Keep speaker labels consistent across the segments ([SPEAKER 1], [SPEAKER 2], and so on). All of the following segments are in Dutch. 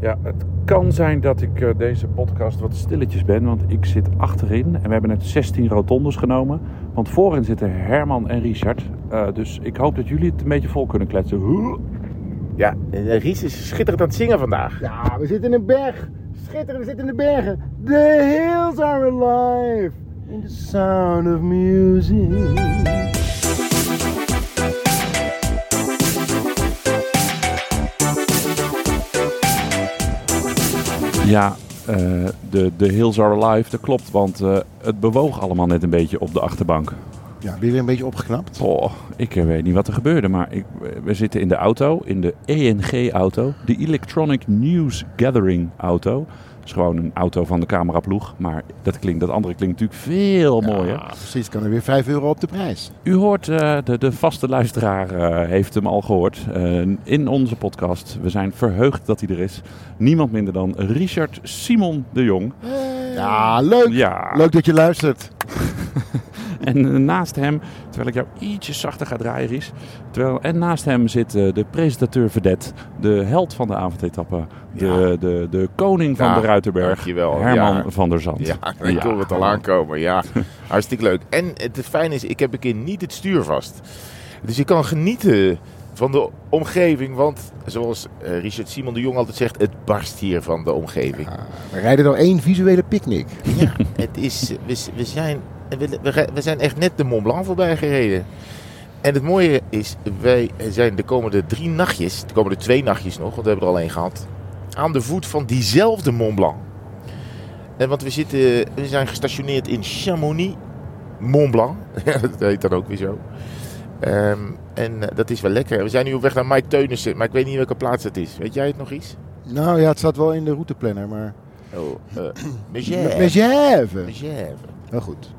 [SPEAKER 1] Ja, het kan zijn dat ik eh, deze podcast wat stilletjes ben, want ik zit achterin en we hebben net 16 rotondes genomen. Want voorin zitten Herman en Richard, Eh, dus ik hoop dat jullie het een beetje vol kunnen kletsen. Huh?
[SPEAKER 2] Ja, en Ries is schitterend aan het zingen vandaag.
[SPEAKER 3] Ja, we zitten in een berg. Schitterend, we zitten in de bergen. The hills are alive in the sound of music.
[SPEAKER 1] Ja, eh, de, de Hills Are Alive, dat klopt, want eh, het bewoog allemaal net een beetje op de achterbank.
[SPEAKER 3] Ja, ben je weer een beetje opgeknapt?
[SPEAKER 1] Oh, ik weet niet wat er gebeurde, maar ik, eh, we zitten in de auto, in de E ENG-auto, de Electronic News Gathering auto. Dat is gewoon een auto van de cameraploeg, maar dat, klinkt, dat andere klinkt natuurlijk veel mooier.
[SPEAKER 3] Precies, kan er weer 5 euro op de prijs.
[SPEAKER 1] U hoort, eh, de, de vaste luisteraar eh, heeft hem al gehoord eh, in onze podcast. We zijn verheugd dat hij er is. Niemand minder dan Richard Simon de Jong.
[SPEAKER 3] Eh. Ja, leuk.
[SPEAKER 1] Ja.
[SPEAKER 3] Leuk dat je luistert.
[SPEAKER 1] En eh, naast hem, terwijl ik jou ietsje zachter ga draaien, Ries. Terwijl, en naast hem zit eh, de presentateur Verdet, de held van de avondetappe. De,
[SPEAKER 2] Ja.
[SPEAKER 1] de, de koning van
[SPEAKER 2] Ja,
[SPEAKER 1] de Ruitenberg,
[SPEAKER 2] dankjewel.
[SPEAKER 1] Herman
[SPEAKER 2] Ja.
[SPEAKER 1] van der Zand.
[SPEAKER 2] Ja, ik wil het al aankomen. Ja, hartstikke leuk. En het fijne is, ik heb een keer niet het stuur vast. Dus je kan genieten van de omgeving. Want zoals eh, Richard Simon de Jong altijd zegt, het barst hier van de omgeving.
[SPEAKER 3] We rijden door één visuele picknick.
[SPEAKER 2] Ja, het is, we, we, zijn, we, we re- we zijn echt net de Mont Blanc voorbij gereden. En het mooie is, wij zijn de komende drie nachtjes, de komende twee nachtjes nog, want we hebben er al één gehad, aan de voet van diezelfde Mont Blanc. En want we, zitten, we zijn gestationeerd in Chamonix, Mont Blanc. Ja, dat heet dan ook weer zo. Ehm, en eh, dat is wel lekker. We zijn nu op weg naar Mike Teunissen, maar ik weet niet welke plaats het is. Weet jij het nog iets?
[SPEAKER 3] Nou ja, het staat wel in de routeplanner, maar...
[SPEAKER 2] Oh, eh
[SPEAKER 3] Met
[SPEAKER 2] Megève.
[SPEAKER 3] Megève.
[SPEAKER 2] Megève.
[SPEAKER 3] Wel goed.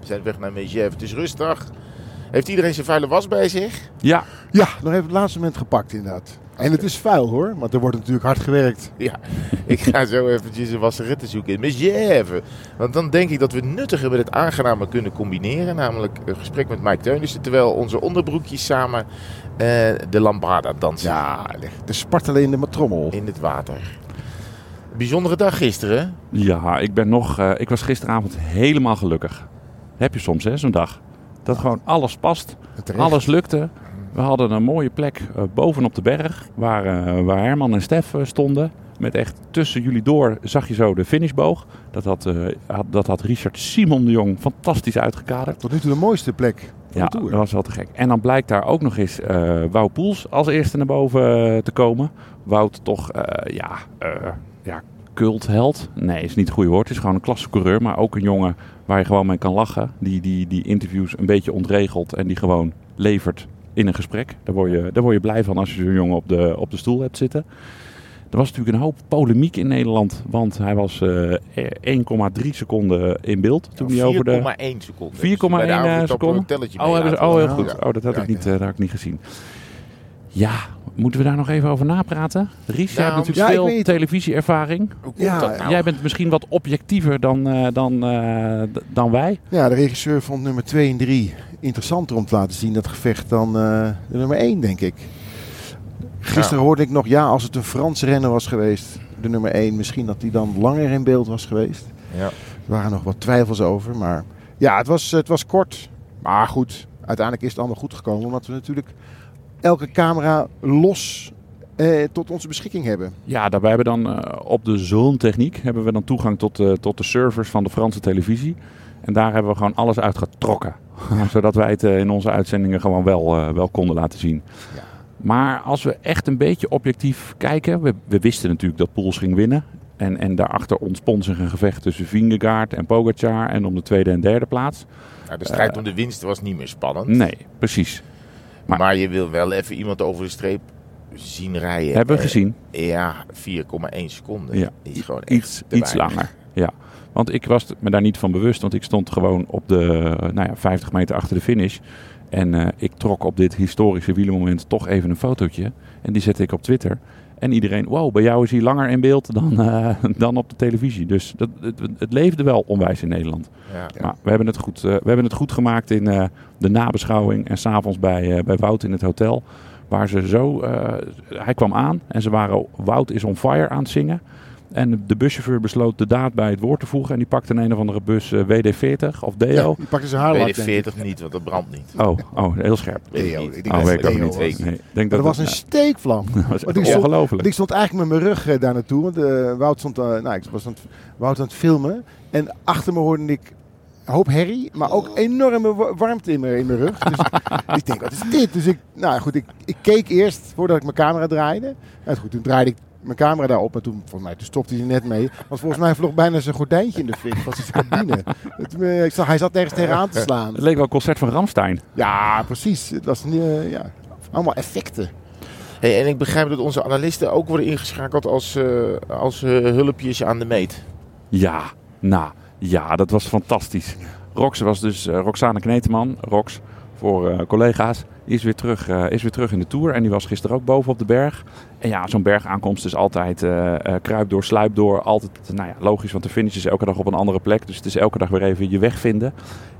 [SPEAKER 2] We zijn weg naar Megève. Het is rustig. Heeft iedereen zijn vuile was bij zich?
[SPEAKER 1] Ja,
[SPEAKER 3] Ja, nog even het laatste moment gepakt inderdaad. En het is vuil hoor, want er wordt natuurlijk hard gewerkt.
[SPEAKER 2] Ja, ik ga zo eventjes een wasserette zoeken in Megève. Want dan denk ik dat we het nuttige met het aangename kunnen combineren. Namelijk een gesprek met Mike Teunissen. Terwijl onze onderbroekjes samen eh, de lambada dansen
[SPEAKER 3] Ja, de spartelen in de trommel.
[SPEAKER 2] in het water. Bijzondere dag gisteren.
[SPEAKER 1] ja ik, ben nog, eh, ik was gisteravond helemaal gelukkig. Heb je soms hè, zo'n dag. Dat gewoon alles past,
[SPEAKER 3] Terecht.
[SPEAKER 1] alles lukte. We hadden een mooie plek eh, bovenop de berg, waar, eh, waar Herman en Stef eh, stonden. Met echt tussen jullie door zag je zo de finishboog. Dat had, eh, had- dat had Richard Simon de Jong fantastisch uitgekaderd.
[SPEAKER 3] Tot nu toe de mooiste plek van
[SPEAKER 1] Ja,
[SPEAKER 3] de Tour.
[SPEAKER 1] dat was wel te gek. En dan blijkt daar ook nog eens eh Wout Poels als eerste naar boven eh, te komen. Wout toch, eh, ja, eh ja, cultheld. Nee, is niet het goede woord. Het is gewoon een klassecoureur, maar ook een jongen waar je gewoon mee kan lachen. Die, die, die interviews een beetje ontregelt en die gewoon levert in een gesprek. Daar word je, daar word je blij van als je zo'n jongen op de, op de stoel hebt zitten. Er was natuurlijk een hoop polemiek in Nederland, want hij was eh, 1,3 seconden in beeld toen hij over de...
[SPEAKER 2] 4,1 seconden. Dus
[SPEAKER 1] 4,1
[SPEAKER 2] Bij de avondetappe
[SPEAKER 1] seconden?
[SPEAKER 2] een telletje
[SPEAKER 1] Oh,
[SPEAKER 2] mee
[SPEAKER 1] hebben ze,
[SPEAKER 2] laten
[SPEAKER 1] oh heel
[SPEAKER 2] doen.
[SPEAKER 1] goed.
[SPEAKER 2] Ja.
[SPEAKER 1] Oh, dat had,
[SPEAKER 3] Ja,
[SPEAKER 1] ik niet, eh, dat had ik niet gezien. Ja, moeten we daar nog even over napraten? Ries, jij hebt
[SPEAKER 2] Nou,
[SPEAKER 3] ja,
[SPEAKER 1] natuurlijk
[SPEAKER 3] ik
[SPEAKER 1] veel
[SPEAKER 3] weet-
[SPEAKER 1] televisieervaring.
[SPEAKER 2] Hoe komt
[SPEAKER 3] Ja,
[SPEAKER 2] dat nou?
[SPEAKER 1] Jij bent misschien wat objectiever dan, eh, dan, eh, d- dan wij.
[SPEAKER 3] Ja, de regisseur vond nummer 2 en 3 interessanter om te laten zien dat gevecht dan eh, de nummer 1, denk ik. Gisteren hoorde ik nog, ja, als het een Frans renner was geweest, de nummer 1, misschien dat die dan langer in beeld was geweest.
[SPEAKER 2] Ja.
[SPEAKER 3] Er waren nog wat twijfels over, maar ja, het was, het was kort. Maar goed, uiteindelijk is het allemaal goed gekomen, omdat we natuurlijk elke camera los eh, tot onze beschikking hebben.
[SPEAKER 1] Ja, daarbij hebben we dan eh, op de zoontechniek hebben we dan toegang tot, eh, tot de servers van de Franse televisie. En daar hebben we gewoon alles uitgetrokken. Zodat wij het eh, in onze uitzendingen gewoon wel, eh, wel konden laten zien.
[SPEAKER 3] Ja.
[SPEAKER 1] Maar als we echt een beetje objectief kijken. We, we wisten natuurlijk dat Pools ging winnen. En, en daarachter ontspon zich een gevecht tussen Vingegaard en Pogacar. En om de tweede en derde plaats.
[SPEAKER 2] Nou, de
[SPEAKER 1] Eh,
[SPEAKER 2] strijd om de winst was niet meer spannend.
[SPEAKER 1] Nee, precies.
[SPEAKER 2] Maar,
[SPEAKER 1] Maar-
[SPEAKER 2] je wil wel even iemand over de streep zien rijden.
[SPEAKER 1] Hebben we
[SPEAKER 2] Eh,
[SPEAKER 1] gezien.
[SPEAKER 2] Ja, 4,1 seconden.
[SPEAKER 1] Ja.
[SPEAKER 2] Is gewoon echt
[SPEAKER 1] iets,
[SPEAKER 2] te
[SPEAKER 1] iets
[SPEAKER 2] weinig.
[SPEAKER 1] langer. Ja, want ik was me daar niet van bewust, want ik stond gewoon op de eh, nou ja, 50 meter achter de finish. En eh, ik trok op dit historische wielermoment toch even een fotootje. En die zette ik op Twitter. En iedereen, wow, bij jou is hij langer in beeld dan, eh, dan op de televisie. Dus dat, het, het leefde wel onwijs in Nederland.
[SPEAKER 2] Ja.
[SPEAKER 1] Maar we hebben het goed, eh, we hebben het goed gemaakt in eh, de nabeschouwing en s'avonds bij, eh, bij Wout in het hotel. Waar ze zo, eh, hij kwam aan en ze waren Wout is on fire aan het zingen. En de buschauffeur besloot de daad bij het woord te voegen. En die pakte een of andere bus eh, WD-40 of DO.
[SPEAKER 3] Ja, die pakte zijn haar
[SPEAKER 2] Weet
[SPEAKER 3] lak,
[SPEAKER 2] ik 40 niet, want dat brandt niet.
[SPEAKER 1] Oh, oh, heel scherp.
[SPEAKER 2] Weet ik
[SPEAKER 3] Theo,
[SPEAKER 2] niet.
[SPEAKER 3] ik
[SPEAKER 1] oh,
[SPEAKER 3] dat
[SPEAKER 1] weet ik
[SPEAKER 3] het
[SPEAKER 1] ook
[SPEAKER 3] EO
[SPEAKER 1] niet.
[SPEAKER 3] was.
[SPEAKER 2] Weet ik niet.
[SPEAKER 1] Nee, ik denk
[SPEAKER 3] Maar
[SPEAKER 1] dat
[SPEAKER 3] dat was
[SPEAKER 1] het-
[SPEAKER 3] een steekvlam.
[SPEAKER 1] nou, dat
[SPEAKER 3] maar
[SPEAKER 1] was echt
[SPEAKER 3] die-
[SPEAKER 1] ongelooflijk.
[SPEAKER 3] Want ik stond eigenlijk met mijn rug eh, daar naartoe. Want eh, Wout, stond, eh, nou, ik was aan het, Wout aan het filmen. En achter me hoorde ik een hoop herrie. Maar ook enorme wa- warmte in mijn, in mijn rug. Dus ik denk, wat is dit? Dus ik, nou goed, ik, ik keek eerst voordat ik mijn camera draaide. Nou, goed, toen draaide ik mijn camera daarop. Maar toen, volgens mij, toen stopte hij er net mee. Want volgens mij vloog bijna zijn gordijntje in de fik van zijn cabine. Het, eh, ik zag, hij zat ergens tegenaan te slaan.
[SPEAKER 1] Het leek wel een concert van Ramstein.
[SPEAKER 3] Ja, precies. Het was niet, eh, ja, allemaal effecten.
[SPEAKER 2] Hey, en ik begrijp dat onze analisten ook worden ingeschakeld als, eh, als eh, hulpjes aan de meet.
[SPEAKER 1] Ja, nou, ja, dat was fantastisch. Rox was dus eh, Roxane Kneteman, Rox, voor eh, collega's, is weer, terug, eh, is weer terug in de Tour. En die was gisteren ook boven op de berg. En ja, zo'n bergaankomst is altijd eh, eh, kruip door, sluip door. Altijd, nou ja, logisch, want de finish is elke dag op een andere plek. Dus het is elke dag weer even je weg vinden.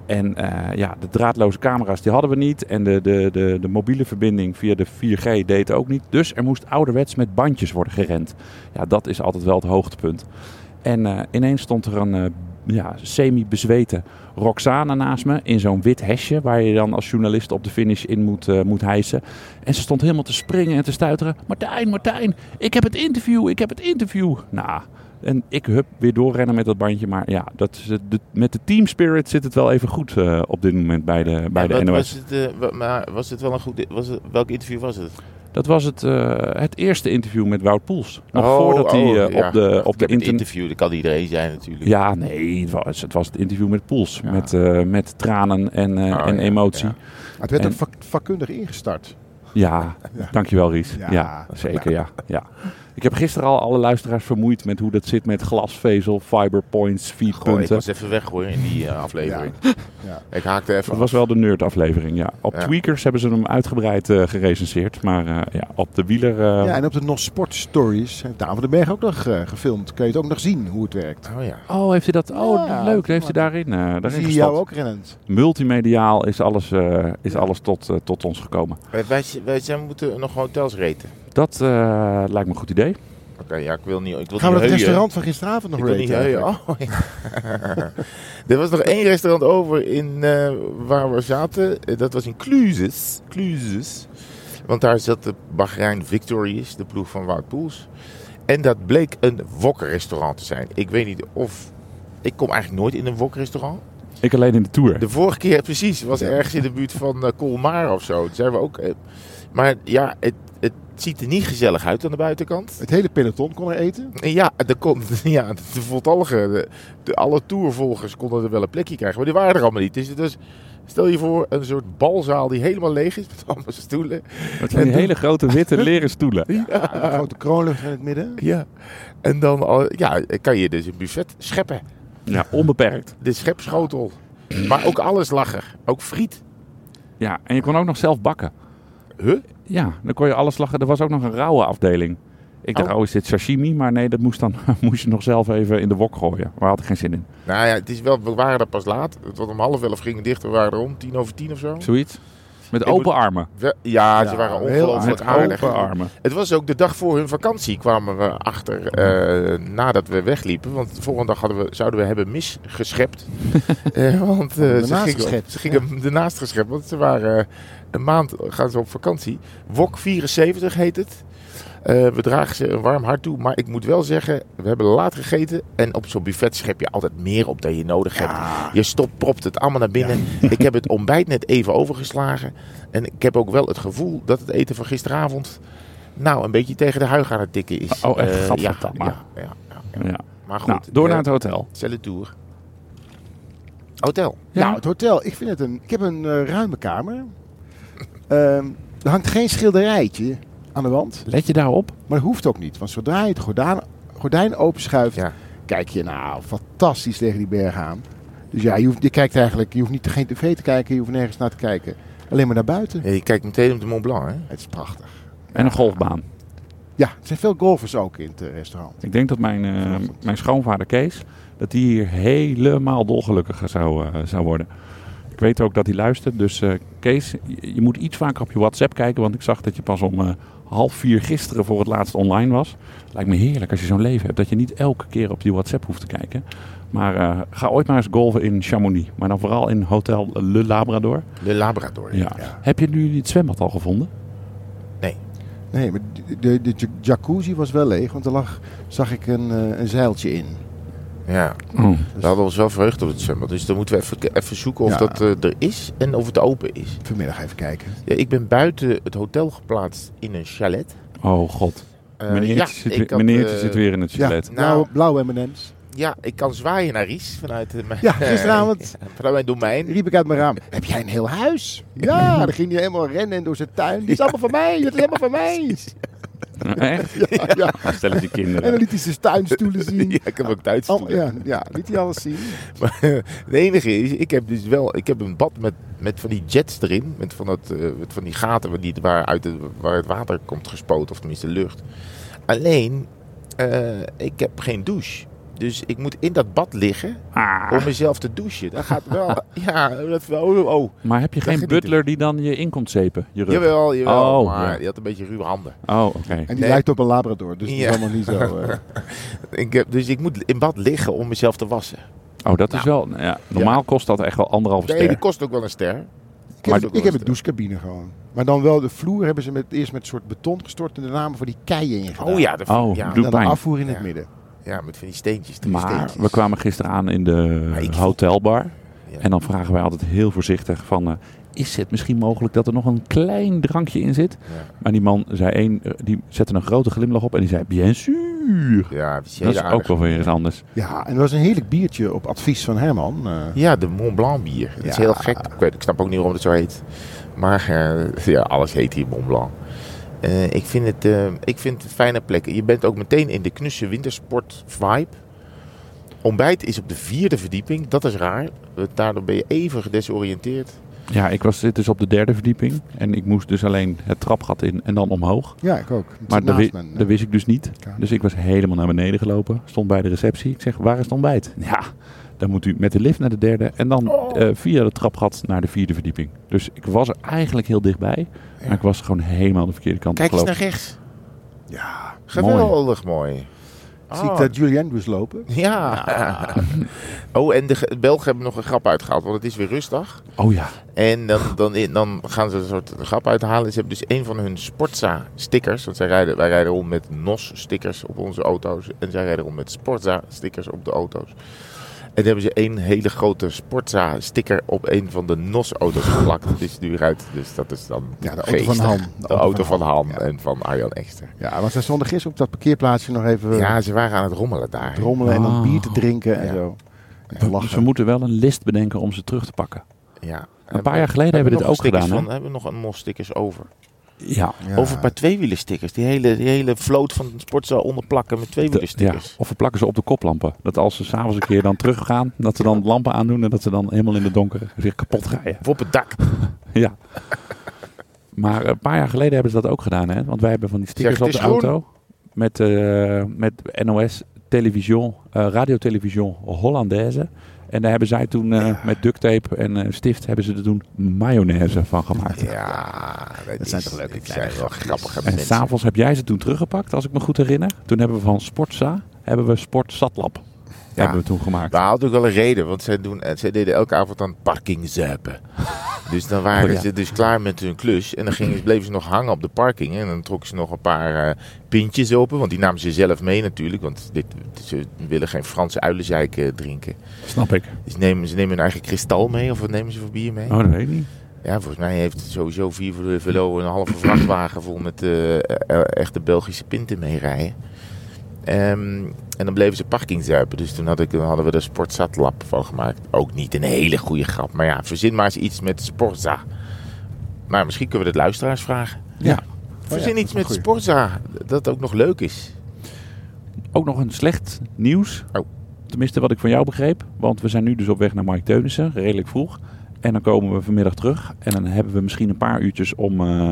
[SPEAKER 1] En eh, ja, de draadloze camera's die hadden we niet. En de, de, de, de mobiele verbinding via de 4G deed ook niet. Dus er moest ouderwets met bandjes worden gerend. Ja, dat is altijd wel het hoogtepunt. En eh, ineens stond er een eh, ja, semi-bezweten Roxane naast me in zo'n wit hesje. Waar je dan als journalist op de finish in moet, eh, moet hijsen. En ze stond helemaal te springen en te stuiteren. Martijn, Martijn, ik heb het interview, ik heb het interview. Nou, en ik hup weer doorrennen met dat bandje. Maar ja, dat is, het- de, met de team spirit zit het wel even goed eh, op dit moment bij de, bij
[SPEAKER 2] En
[SPEAKER 1] de
[SPEAKER 2] wat
[SPEAKER 1] NOS.
[SPEAKER 2] Was het, eh, wa- maar was het wel een goed... Was het, welk interview was het?
[SPEAKER 1] Dat was het, eh, het eerste interview met Wout Poels. Nog
[SPEAKER 2] Oh,
[SPEAKER 1] voordat hij
[SPEAKER 2] oh,
[SPEAKER 1] eh,
[SPEAKER 2] ja.
[SPEAKER 1] op de, op de
[SPEAKER 2] Ik heb het
[SPEAKER 1] internet...
[SPEAKER 2] interview, dat kan iedereen zijn natuurlijk.
[SPEAKER 1] Ja, nee, het was het, was het interview met Poels.
[SPEAKER 2] Ja.
[SPEAKER 1] Met, eh, met tranen en, eh,
[SPEAKER 2] Oh,
[SPEAKER 1] en
[SPEAKER 2] ja,
[SPEAKER 1] emotie.
[SPEAKER 2] ja.
[SPEAKER 1] Ja.
[SPEAKER 3] Maar het werd
[SPEAKER 1] En-
[SPEAKER 3] ook vak- vakkundig ingestart. Ja.
[SPEAKER 1] dankjewel Ries.
[SPEAKER 3] Ja.
[SPEAKER 1] Ja, zeker ja. ja. Ik heb gisteren al alle luisteraars vermoeid met hoe dat zit met glasvezel, fiberpoints,
[SPEAKER 2] Goh, ik
[SPEAKER 1] feedpunten.
[SPEAKER 2] was even weg hoor, in die eh, aflevering.
[SPEAKER 3] Ja.
[SPEAKER 2] Ik haakte even
[SPEAKER 1] Dat was wel de nerdaflevering, ja. Op
[SPEAKER 2] Ja.
[SPEAKER 1] Tweakers hebben ze hem uitgebreid eh gerecenseerd. Maar eh, ja, op de wieler... eh,
[SPEAKER 3] Ja, en op de Nos Sport Stories heeft Daan van den Berg ook nog eh, gefilmd. Kun je het ook nog zien hoe het werkt.
[SPEAKER 2] af. Oh ja.
[SPEAKER 1] Oh, heeft hij dat? Oh,
[SPEAKER 3] Ja,
[SPEAKER 1] leuk. Heeft hij
[SPEAKER 3] maar-
[SPEAKER 1] daarin, eh daarin
[SPEAKER 3] Dan zie je
[SPEAKER 1] gestapt.
[SPEAKER 3] jou ook rennend.
[SPEAKER 1] Multimediaal is alles, eh, is alles tot, eh, tot ons gekomen.
[SPEAKER 2] Wij, wij- wij zijn moeten nog hotels reten.
[SPEAKER 1] Dat eh, lijkt me een goed idee.
[SPEAKER 2] Oké, ja, ik wil niet... Ik wil
[SPEAKER 3] Gaan
[SPEAKER 2] niet
[SPEAKER 3] we dat
[SPEAKER 2] heuien.
[SPEAKER 3] restaurant van gisteravond nog
[SPEAKER 2] Ik wil niet
[SPEAKER 3] raten
[SPEAKER 2] heuien.
[SPEAKER 3] eigenlijk?
[SPEAKER 2] Oh, ja. er was nog één restaurant over in, eh, waar we zaten. Eh, Dat was in Cluses. Cluses. Want daar zat de Bahrein Victorious, de ploeg van Wout Poels. En dat bleek een wokrestaurant te zijn. Ik weet niet of... Ik kom eigenlijk nooit in een wokrestaurant.
[SPEAKER 1] Ik alleen in de Tour.
[SPEAKER 2] De vorige keer, precies, was
[SPEAKER 3] Ja.
[SPEAKER 2] ergens in de buurt van eh Colmar of zo. Toen zijn we ook... eh, maar ja, het, het ziet er niet gezellig uit aan de buitenkant.
[SPEAKER 3] Het hele peloton kon er eten.
[SPEAKER 2] Ja, de, kon, ja, de voltallige, de, de- alle tourvolgers konden er wel een plekje krijgen. Maar die waren er allemaal niet. Dus, het was- stel je voor een soort balzaal die helemaal leeg is met allemaal stoelen.
[SPEAKER 1] Met van die hele grote witte leren stoelen.
[SPEAKER 3] Een grote kroonlucht in het midden.
[SPEAKER 2] Ja. En dan al- ja, kan je dus een buffet scheppen.
[SPEAKER 1] Ja, onbeperkt.
[SPEAKER 2] De schepschotel. Maar ook alles lag er. Ook friet.
[SPEAKER 1] Ja, en je kon ook nog zelf bakken.
[SPEAKER 2] Huh?
[SPEAKER 1] Ja, dan kon je alles lachen. Er was ook nog een rauwe afdeling. Ik dacht,
[SPEAKER 2] Oh.
[SPEAKER 1] oh, is dit sashimi? Maar nee, dat moest, dan, moest je nog zelf even in de wok gooien. Maar daar had ik geen zin in.
[SPEAKER 2] Nou ja, het is wel, we waren er pas laat. Tot om half elf gingen dicht. We waren er om tien over tien of zo.
[SPEAKER 1] Zoiets? Met
[SPEAKER 2] Ik
[SPEAKER 1] open
[SPEAKER 2] moet-
[SPEAKER 1] armen.
[SPEAKER 2] We- ja, ze
[SPEAKER 3] Ja,
[SPEAKER 2] waren
[SPEAKER 3] heel
[SPEAKER 2] ongelooflijk
[SPEAKER 1] Met
[SPEAKER 2] aardig.
[SPEAKER 1] open armen.
[SPEAKER 2] Het was ook de dag voor hun vakantie kwamen we achter eh, nadat we wegliepen. Want de volgende dag hadden we, zouden we hebben misgeschept. Eh, want eh,
[SPEAKER 3] Ernaast
[SPEAKER 2] ze gingen,
[SPEAKER 3] geschept,
[SPEAKER 2] ze gingen ernaast geschept. Want ze waren eh, een maand gaan ze op vakantie. Wok 74 heet het. Eh, we dragen ze een warm hart toe. Maar ik moet wel zeggen, we hebben laat gegeten. En op zo'n buffet schep je altijd meer op dan je nodig hebt. Je stopt, propt het allemaal naar binnen. Ik heb het ontbijt net even overgeslagen. En ik heb ook wel het gevoel dat het eten van gisteravond... nou, een beetje tegen de huig aan het tikken is.
[SPEAKER 1] Oh, echt?
[SPEAKER 2] Eh, ja, ja,
[SPEAKER 1] Gadverdamme.
[SPEAKER 2] ja, ja, ja.
[SPEAKER 1] Ja.
[SPEAKER 2] Maar goed,
[SPEAKER 1] Nou, door
[SPEAKER 2] eh,
[SPEAKER 1] naar het hotel.
[SPEAKER 2] c'est le tour. Hotel.
[SPEAKER 1] Ja.
[SPEAKER 3] Nou, het hotel. Ik, vind het een, ik heb een eh, ruime kamer. Ehm, er hangt geen schilderijtje aan de wand.
[SPEAKER 1] Let je daarop?
[SPEAKER 3] Maar dat hoeft ook niet. Want zodra je het gordijn, gordijn openschuift,
[SPEAKER 2] Ja.
[SPEAKER 3] kijk je nou fantastisch tegen die berg aan. Dus ja, je, hoeft, je kijkt eigenlijk, je hoeft niet geen tv te kijken, je hoeft nergens naar te kijken. Alleen maar naar buiten.
[SPEAKER 2] Ja, Je kijkt meteen op de Mont Blanc, hè?
[SPEAKER 3] Het is prachtig.
[SPEAKER 1] En een golfbaan.
[SPEAKER 3] Ja, er zijn veel golfers ook in het eh, restaurant.
[SPEAKER 1] Ik denk dat mijn, eh, mijn schoonvader Kees, dat die hier helemaal dolgelukkig zou, eh, zou worden. Ik weet ook dat hij luistert. Dus eh, Kees, je, je moet iets vaker op je WhatsApp kijken. Want ik zag dat je pas om eh, half vier gisteren voor het laatst online was. Lijkt me heerlijk als je zo'n leven hebt. Dat je niet elke keer op die WhatsApp hoeft te kijken. Maar eh, ga ooit maar eens golven in Chamonix. Maar dan vooral in Hotel Le Labrador.
[SPEAKER 2] De Labrador.
[SPEAKER 1] Ja. Heb je nu het zwembad al gevonden?
[SPEAKER 3] Nee, maar de, de, de jac- jacuzzi was wel leeg, want er lag, zag ik een, eh, een zeiltje in.
[SPEAKER 2] ja. We hadden ons wel verheugd op het zwembad. Dus dan moeten we even, even zoeken of
[SPEAKER 3] Dus- Ja.
[SPEAKER 2] dat eh, er is en of het open is.
[SPEAKER 3] Vanmiddag even kijken.
[SPEAKER 2] Ja, ik ben buiten het hotel geplaatst in een chalet.
[SPEAKER 1] Oh god.
[SPEAKER 2] Eh,
[SPEAKER 1] meneertje
[SPEAKER 2] ja,
[SPEAKER 1] zit,
[SPEAKER 2] ik
[SPEAKER 1] weer-
[SPEAKER 2] had,
[SPEAKER 1] meneertje
[SPEAKER 2] eh,
[SPEAKER 1] zit weer in het
[SPEAKER 3] Ja,
[SPEAKER 1] chalet.
[SPEAKER 3] blauwe,
[SPEAKER 2] Nou.
[SPEAKER 3] blauwe M&M's.
[SPEAKER 2] Ja, ik kan zwaaien naar Ries vanuit, eh, mijn,
[SPEAKER 3] Ja, gisteravond
[SPEAKER 2] vanuit mijn domein.
[SPEAKER 3] riep ik uit mijn raam, heb jij een heel huis? Ja, dan ging hij helemaal rennen en door zijn tuin. Dit is allemaal van mij, dit is allemaal van mij.
[SPEAKER 1] Echt?
[SPEAKER 3] Ja, ja.
[SPEAKER 1] Stel die
[SPEAKER 3] En dan
[SPEAKER 1] kinderen.
[SPEAKER 3] liet hij zijn tuinstoelen zien.
[SPEAKER 2] Ja, ik heb ook Duits.
[SPEAKER 3] Al- ja, ja, liet hij alles zien.
[SPEAKER 2] Maar het enige is, ik heb dus wel, ik heb een bad met, met van die jets erin. Met van, dat, eh, met van die gaten waar, die, waar, uit het, waar het water komt gespoten, of tenminste lucht. Alleen, eh, ik heb geen douche. Dus ik moet in dat bad liggen
[SPEAKER 1] Ah.
[SPEAKER 2] om mezelf te douchen. Dat gaat wel. ja, dat wel. Oh, oh.
[SPEAKER 1] Maar heb je
[SPEAKER 2] Dat
[SPEAKER 1] geen
[SPEAKER 2] geniet ik.
[SPEAKER 1] butler die dan je in komt zepen? Je rug?
[SPEAKER 2] Jawel, jawel.
[SPEAKER 1] Oh,
[SPEAKER 2] maar
[SPEAKER 1] ja.
[SPEAKER 2] die had een beetje ruwe handen.
[SPEAKER 1] Oh, oké.
[SPEAKER 3] En die
[SPEAKER 2] Nee.
[SPEAKER 3] lijkt op een labrador, dus
[SPEAKER 2] Ja.
[SPEAKER 3] dat is allemaal niet zo... eh,
[SPEAKER 2] Ik heb, dus ik moet in bad liggen om mezelf te wassen.
[SPEAKER 1] Oh, dat is wel... Ja, normaal kost dat echt wel anderhalve
[SPEAKER 2] Nee, die
[SPEAKER 1] ster.
[SPEAKER 2] kost ook wel een ster.
[SPEAKER 3] Ik heb,
[SPEAKER 2] Maar-
[SPEAKER 3] ik heb een douchecabine gewoon. Maar dan wel de vloer hebben ze met, eerst met soort beton gestort en daarna voor die keien in gedaan.
[SPEAKER 2] Oh ja, dat vind-
[SPEAKER 1] Oh,
[SPEAKER 2] ja,
[SPEAKER 1] doe-
[SPEAKER 3] En dan een
[SPEAKER 1] pijn.
[SPEAKER 3] afvoer in
[SPEAKER 2] Ja.
[SPEAKER 3] het midden.
[SPEAKER 2] ja, met van die steentjes. drie
[SPEAKER 1] Maar
[SPEAKER 2] steentjes.
[SPEAKER 1] we kwamen gisteren aan in de
[SPEAKER 2] ik voel-
[SPEAKER 1] hotelbar.
[SPEAKER 2] Ja.
[SPEAKER 1] En dan vragen wij altijd heel voorzichtig van... eh, is het misschien mogelijk dat er nog een klein drankje in zit?
[SPEAKER 2] Ja.
[SPEAKER 1] Maar die man zei één, eh, die zette een grote glimlach op en die zei... Bien sûr!
[SPEAKER 2] Ja, dat is,
[SPEAKER 1] Dat is ook
[SPEAKER 2] wel.
[SPEAKER 1] wel weer eens anders.
[SPEAKER 3] Ja, en er was een heerlijk biertje op advies van Herman. eh,
[SPEAKER 2] Ja, de Mont Blanc bier. Dat is
[SPEAKER 3] Ja.
[SPEAKER 2] heel gek. Ik, weet, ik snap ook niet waarom het zo heet. Maar eh, ja, alles heet hier Mont Blanc. Eh, ik, vind het, eh, ik vind het fijne plekken. Je bent ook meteen in de knusse wintersport vibe. Ontbijt is op de vierde verdieping. Dat is raar. want Daardoor ben je even gedesoriënteerd.
[SPEAKER 1] Ja, ik was, zit dus op de derde verdieping. En ik moest dus alleen het trapgat in en dan omhoog.
[SPEAKER 3] ja, ik ook. Het zit
[SPEAKER 1] Maar dat,
[SPEAKER 3] naast
[SPEAKER 1] wi-
[SPEAKER 3] mijn, eh,
[SPEAKER 1] dat wist ik dus niet.
[SPEAKER 3] kamer.
[SPEAKER 1] Dus ik was helemaal naar beneden gelopen. Stond bij de receptie. Ik zeg, waar is het ontbijt? Ja, dan moet u met de lift naar de derde. En dan
[SPEAKER 3] Oh.
[SPEAKER 1] eh, via de trapgat naar de vierde verdieping. Dus ik was er eigenlijk heel dichtbij. Maar ik was gewoon helemaal de verkeerde kant op
[SPEAKER 2] Kijk eens naar
[SPEAKER 1] gelopen.
[SPEAKER 2] rechts.
[SPEAKER 3] Ja,
[SPEAKER 2] Geweldig mooi.
[SPEAKER 3] zie ik
[SPEAKER 2] Oh,
[SPEAKER 3] eh, dat Julie Andrews lopen?
[SPEAKER 2] Ja. Oh, en de Ge- Belgen hebben nog een grap uitgehaald, want het is weer rustdag.
[SPEAKER 1] Oh ja.
[SPEAKER 2] En dan, dan, dan gaan ze een soort grap uithalen. Ze hebben dus een van hun Sportza-stickers. Want zij rijden, wij rijden rond met NOS-stickers op onze auto's. En zij rijden rond met Sportza-stickers op de auto's. En dan hebben ze één hele grote Sportza-sticker op een van de NOS-auto's geplakt. Het is nu uit. Dus dat is dan
[SPEAKER 3] Ja, de auto
[SPEAKER 2] geestig.
[SPEAKER 3] van Han.
[SPEAKER 2] De, auto van Han,
[SPEAKER 3] Ja.
[SPEAKER 2] en van Arjan Ekster.
[SPEAKER 3] Ja, want zij stonden gisteren op dat parkeerplaatsje nog even
[SPEAKER 2] Ja, ze waren aan het rommelen daar.
[SPEAKER 3] rommelen en dan
[SPEAKER 1] Oh.
[SPEAKER 3] bier te drinken en
[SPEAKER 2] Ja.
[SPEAKER 3] zo. En
[SPEAKER 1] We,
[SPEAKER 3] lachen.
[SPEAKER 1] Dus we moeten wel een list bedenken om ze terug te pakken.
[SPEAKER 2] Ja.
[SPEAKER 1] Een paar jaar geleden hebben we dit
[SPEAKER 2] nog
[SPEAKER 1] ook
[SPEAKER 2] stickers eh,
[SPEAKER 1] gedaan. hè?
[SPEAKER 2] Van, hebben we nog een NOS-stickers over?
[SPEAKER 1] Ja.
[SPEAKER 3] Ja.
[SPEAKER 2] Over een paar tweewielerstickers. Die hele, die hele vloot van sportzaal onderplakken met
[SPEAKER 1] ja.
[SPEAKER 2] tweewielerstickers.
[SPEAKER 1] Of we plakken ze op de koplampen. Dat als ze s'avonds een keer dan teruggaan, dat ze dan lampen aandoen en dat ze dan helemaal in de donker zich kapot rijden.
[SPEAKER 2] Of op het dak.
[SPEAKER 1] Ja. Maar een paar jaar geleden hebben ze dat ook gedaan, hè? Want wij hebben van die stickers
[SPEAKER 2] Zeg,
[SPEAKER 1] op
[SPEAKER 2] het
[SPEAKER 1] de
[SPEAKER 2] is groen.
[SPEAKER 1] auto. Met, eh, met NOS, television, eh radiotelevision Hollandaise. En daar hebben zij toen eh, met duct tape en eh, stift hebben ze er toen mayonaise van gemaakt.
[SPEAKER 2] Ja, dat,
[SPEAKER 3] zijn toch leuke
[SPEAKER 2] dat
[SPEAKER 3] kleine
[SPEAKER 2] zijn wel grappige
[SPEAKER 1] En
[SPEAKER 2] mensen.
[SPEAKER 1] s'avonds heb jij ze toen teruggepakt, als ik me goed herinner. Toen hebben we van Sportza, hebben we Sport Zatlab. Hebben we toen gemaakt.
[SPEAKER 2] We hadden ook wel een reden, want zij, doen, eh, zij deden elke avond aan parking zuipen. dus dan waren
[SPEAKER 1] Oh, ja.
[SPEAKER 2] ze dus klaar met hun klus. En dan gingen, bleven ze nog hangen op de parking. En dan trokken ze nog een paar eh, pintjes open. Want die namen ze zelf mee natuurlijk. Want dit, ze willen geen Franse uilenzeik eh, drinken.
[SPEAKER 1] Snap ik.
[SPEAKER 2] Dus nemen, ze nemen hun eigen kristal mee. Of wat nemen ze voor bier mee?
[SPEAKER 1] Oh, dat weet ik niet.
[SPEAKER 2] Ja, volgens mij heeft het sowieso vier voor de Velo een halve vrachtwagen vol met eh, e- echte Belgische pinten mee rijden. Ehm, en dan bleven ze parking zuipen. Dus toen, had ik, dan hadden we er Sportzatlab van gemaakt. Ook niet een hele goede grap. Maar ja, verzin maar eens iets met Sportza. Maar misschien kunnen we dat luisteraars vragen.
[SPEAKER 1] Oh
[SPEAKER 3] Ja.
[SPEAKER 2] Verzin iets met
[SPEAKER 3] sport.
[SPEAKER 2] Sportza. Dat ook nog leuk is.
[SPEAKER 1] Ook nog een slecht nieuws.
[SPEAKER 2] Oh.
[SPEAKER 1] Tenminste, wat ik van jou begreep. Want we zijn nu dus op weg naar Mike Teunissen, redelijk vroeg. En dan komen we vanmiddag terug. En dan hebben we misschien een paar uurtjes om eh,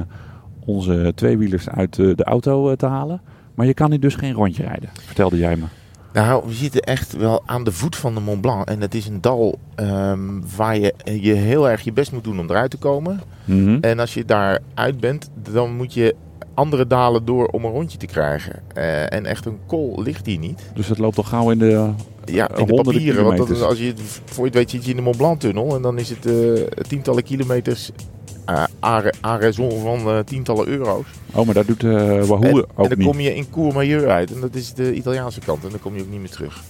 [SPEAKER 1] onze tweewielers uit eh, de auto eh, te halen. Maar je kan hier dus geen rondje rijden, vertelde jij me.
[SPEAKER 2] Nou, we zitten echt wel aan de voet van de Mont Blanc. En dat is een dal ehm, waar je, je heel erg je best moet doen om eruit te komen.
[SPEAKER 1] Mhm.
[SPEAKER 2] En als je daar uit bent, dan moet je andere dalen door om een rondje te krijgen. Eh, en echt een kool ligt hier niet.
[SPEAKER 1] Dus dat loopt al gauw in de...
[SPEAKER 2] Ja, in de
[SPEAKER 1] honderden
[SPEAKER 2] papieren. Want dat is,
[SPEAKER 1] kilometers.
[SPEAKER 2] als je, het- voor je het weet zit je in de Mont Blanc-tunnel. En dan is het eh, tientallen kilometers eh à- à raison van eh, tientallen euro's.
[SPEAKER 1] Oh, maar dat doet eh Wahoo
[SPEAKER 2] En, en
[SPEAKER 1] ook
[SPEAKER 2] dan
[SPEAKER 1] niet.
[SPEAKER 2] kom je in Courmayeur uit. En dat is de Italiaanse kant. En dan kom je ook niet meer terug.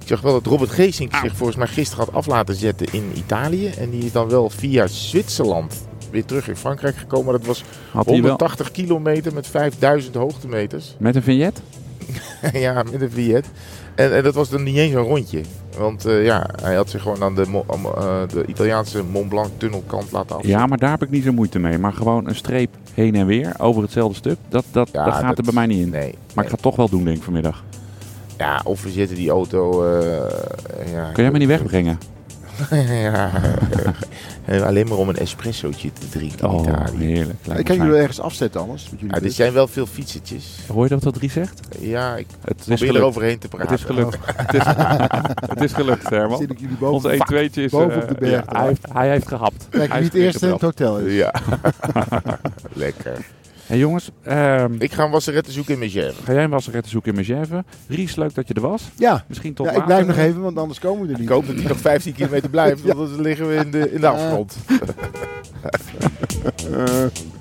[SPEAKER 2] Ik zag wel dat Robert Geesink zich volgens mij gisteren had af laten zetten in Italië. En die is dan wel via Zwitserland weer terug in Frankrijk gekomen. Maar dat was
[SPEAKER 1] Had hij wel
[SPEAKER 2] 180 kilometer met 5000 hoogtemeters.
[SPEAKER 1] met een vignet?
[SPEAKER 2] ja, met een Fiat. En, en dat was dan niet eens een rondje. Want eh, ja, hij had zich gewoon aan de, Mo- am- eh, de Italiaanse Mont Blanc tunnelkant laten af.
[SPEAKER 1] Ja, maar daar heb ik niet zo moeite mee. Maar gewoon een streep heen en weer over hetzelfde stuk, dat, dat,
[SPEAKER 2] Ja,
[SPEAKER 1] dat gaat er
[SPEAKER 2] dat-
[SPEAKER 1] bij mij niet in.
[SPEAKER 2] Nee.
[SPEAKER 1] Maar ik ga het toch wel doen, denk ik, vanmiddag.
[SPEAKER 2] Ja, of we zetten die auto... eh, ja,
[SPEAKER 1] Kun jij me niet wegbrengen?
[SPEAKER 2] ja. En Alleen maar om een espressootje te drinken in
[SPEAKER 1] Oh,
[SPEAKER 2] Italië.
[SPEAKER 1] heerlijk. Lijkt
[SPEAKER 3] Ik
[SPEAKER 1] me
[SPEAKER 3] kan jullie
[SPEAKER 1] fijn.
[SPEAKER 3] wel ergens afzetten anders. met jullie
[SPEAKER 2] Ja, er
[SPEAKER 3] bus.
[SPEAKER 2] zijn wel veel fietsertjes.
[SPEAKER 1] Hoor je dat wat Dries zegt?
[SPEAKER 2] Ja, ik
[SPEAKER 1] Het is
[SPEAKER 2] probeer
[SPEAKER 1] gelukt.
[SPEAKER 2] eroverheen te
[SPEAKER 1] Het
[SPEAKER 2] praten.
[SPEAKER 1] is gelukt. het, is, het is gelukt,
[SPEAKER 3] Dan zit
[SPEAKER 1] Herman.
[SPEAKER 3] ik jullie
[SPEAKER 1] Ons
[SPEAKER 3] boven.
[SPEAKER 1] 1 2 is...
[SPEAKER 3] boven
[SPEAKER 1] eh,
[SPEAKER 3] op de berg.
[SPEAKER 1] ja, hij, heeft, hij heeft gehapt.
[SPEAKER 3] Kijk,
[SPEAKER 1] Hij
[SPEAKER 3] wie
[SPEAKER 1] is
[SPEAKER 3] het eerst in
[SPEAKER 1] getrapt.
[SPEAKER 3] het hotel is.
[SPEAKER 2] Ja. Lekker.
[SPEAKER 1] Hey, jongens, ehm,
[SPEAKER 2] Ik ga een wasserette zoeken in Megève.
[SPEAKER 1] ga jij een wasseretten zoeken in Megève? Ries, leuk dat je er was.
[SPEAKER 3] Ja,
[SPEAKER 1] Misschien tot
[SPEAKER 3] ja ik
[SPEAKER 1] later.
[SPEAKER 3] blijf nog even, want anders komen we er
[SPEAKER 2] Ik
[SPEAKER 3] niet.
[SPEAKER 2] hoop dat hij nog 15 kilometer blijft, want dan liggen we in de, in de afgrond.
[SPEAKER 3] Eh,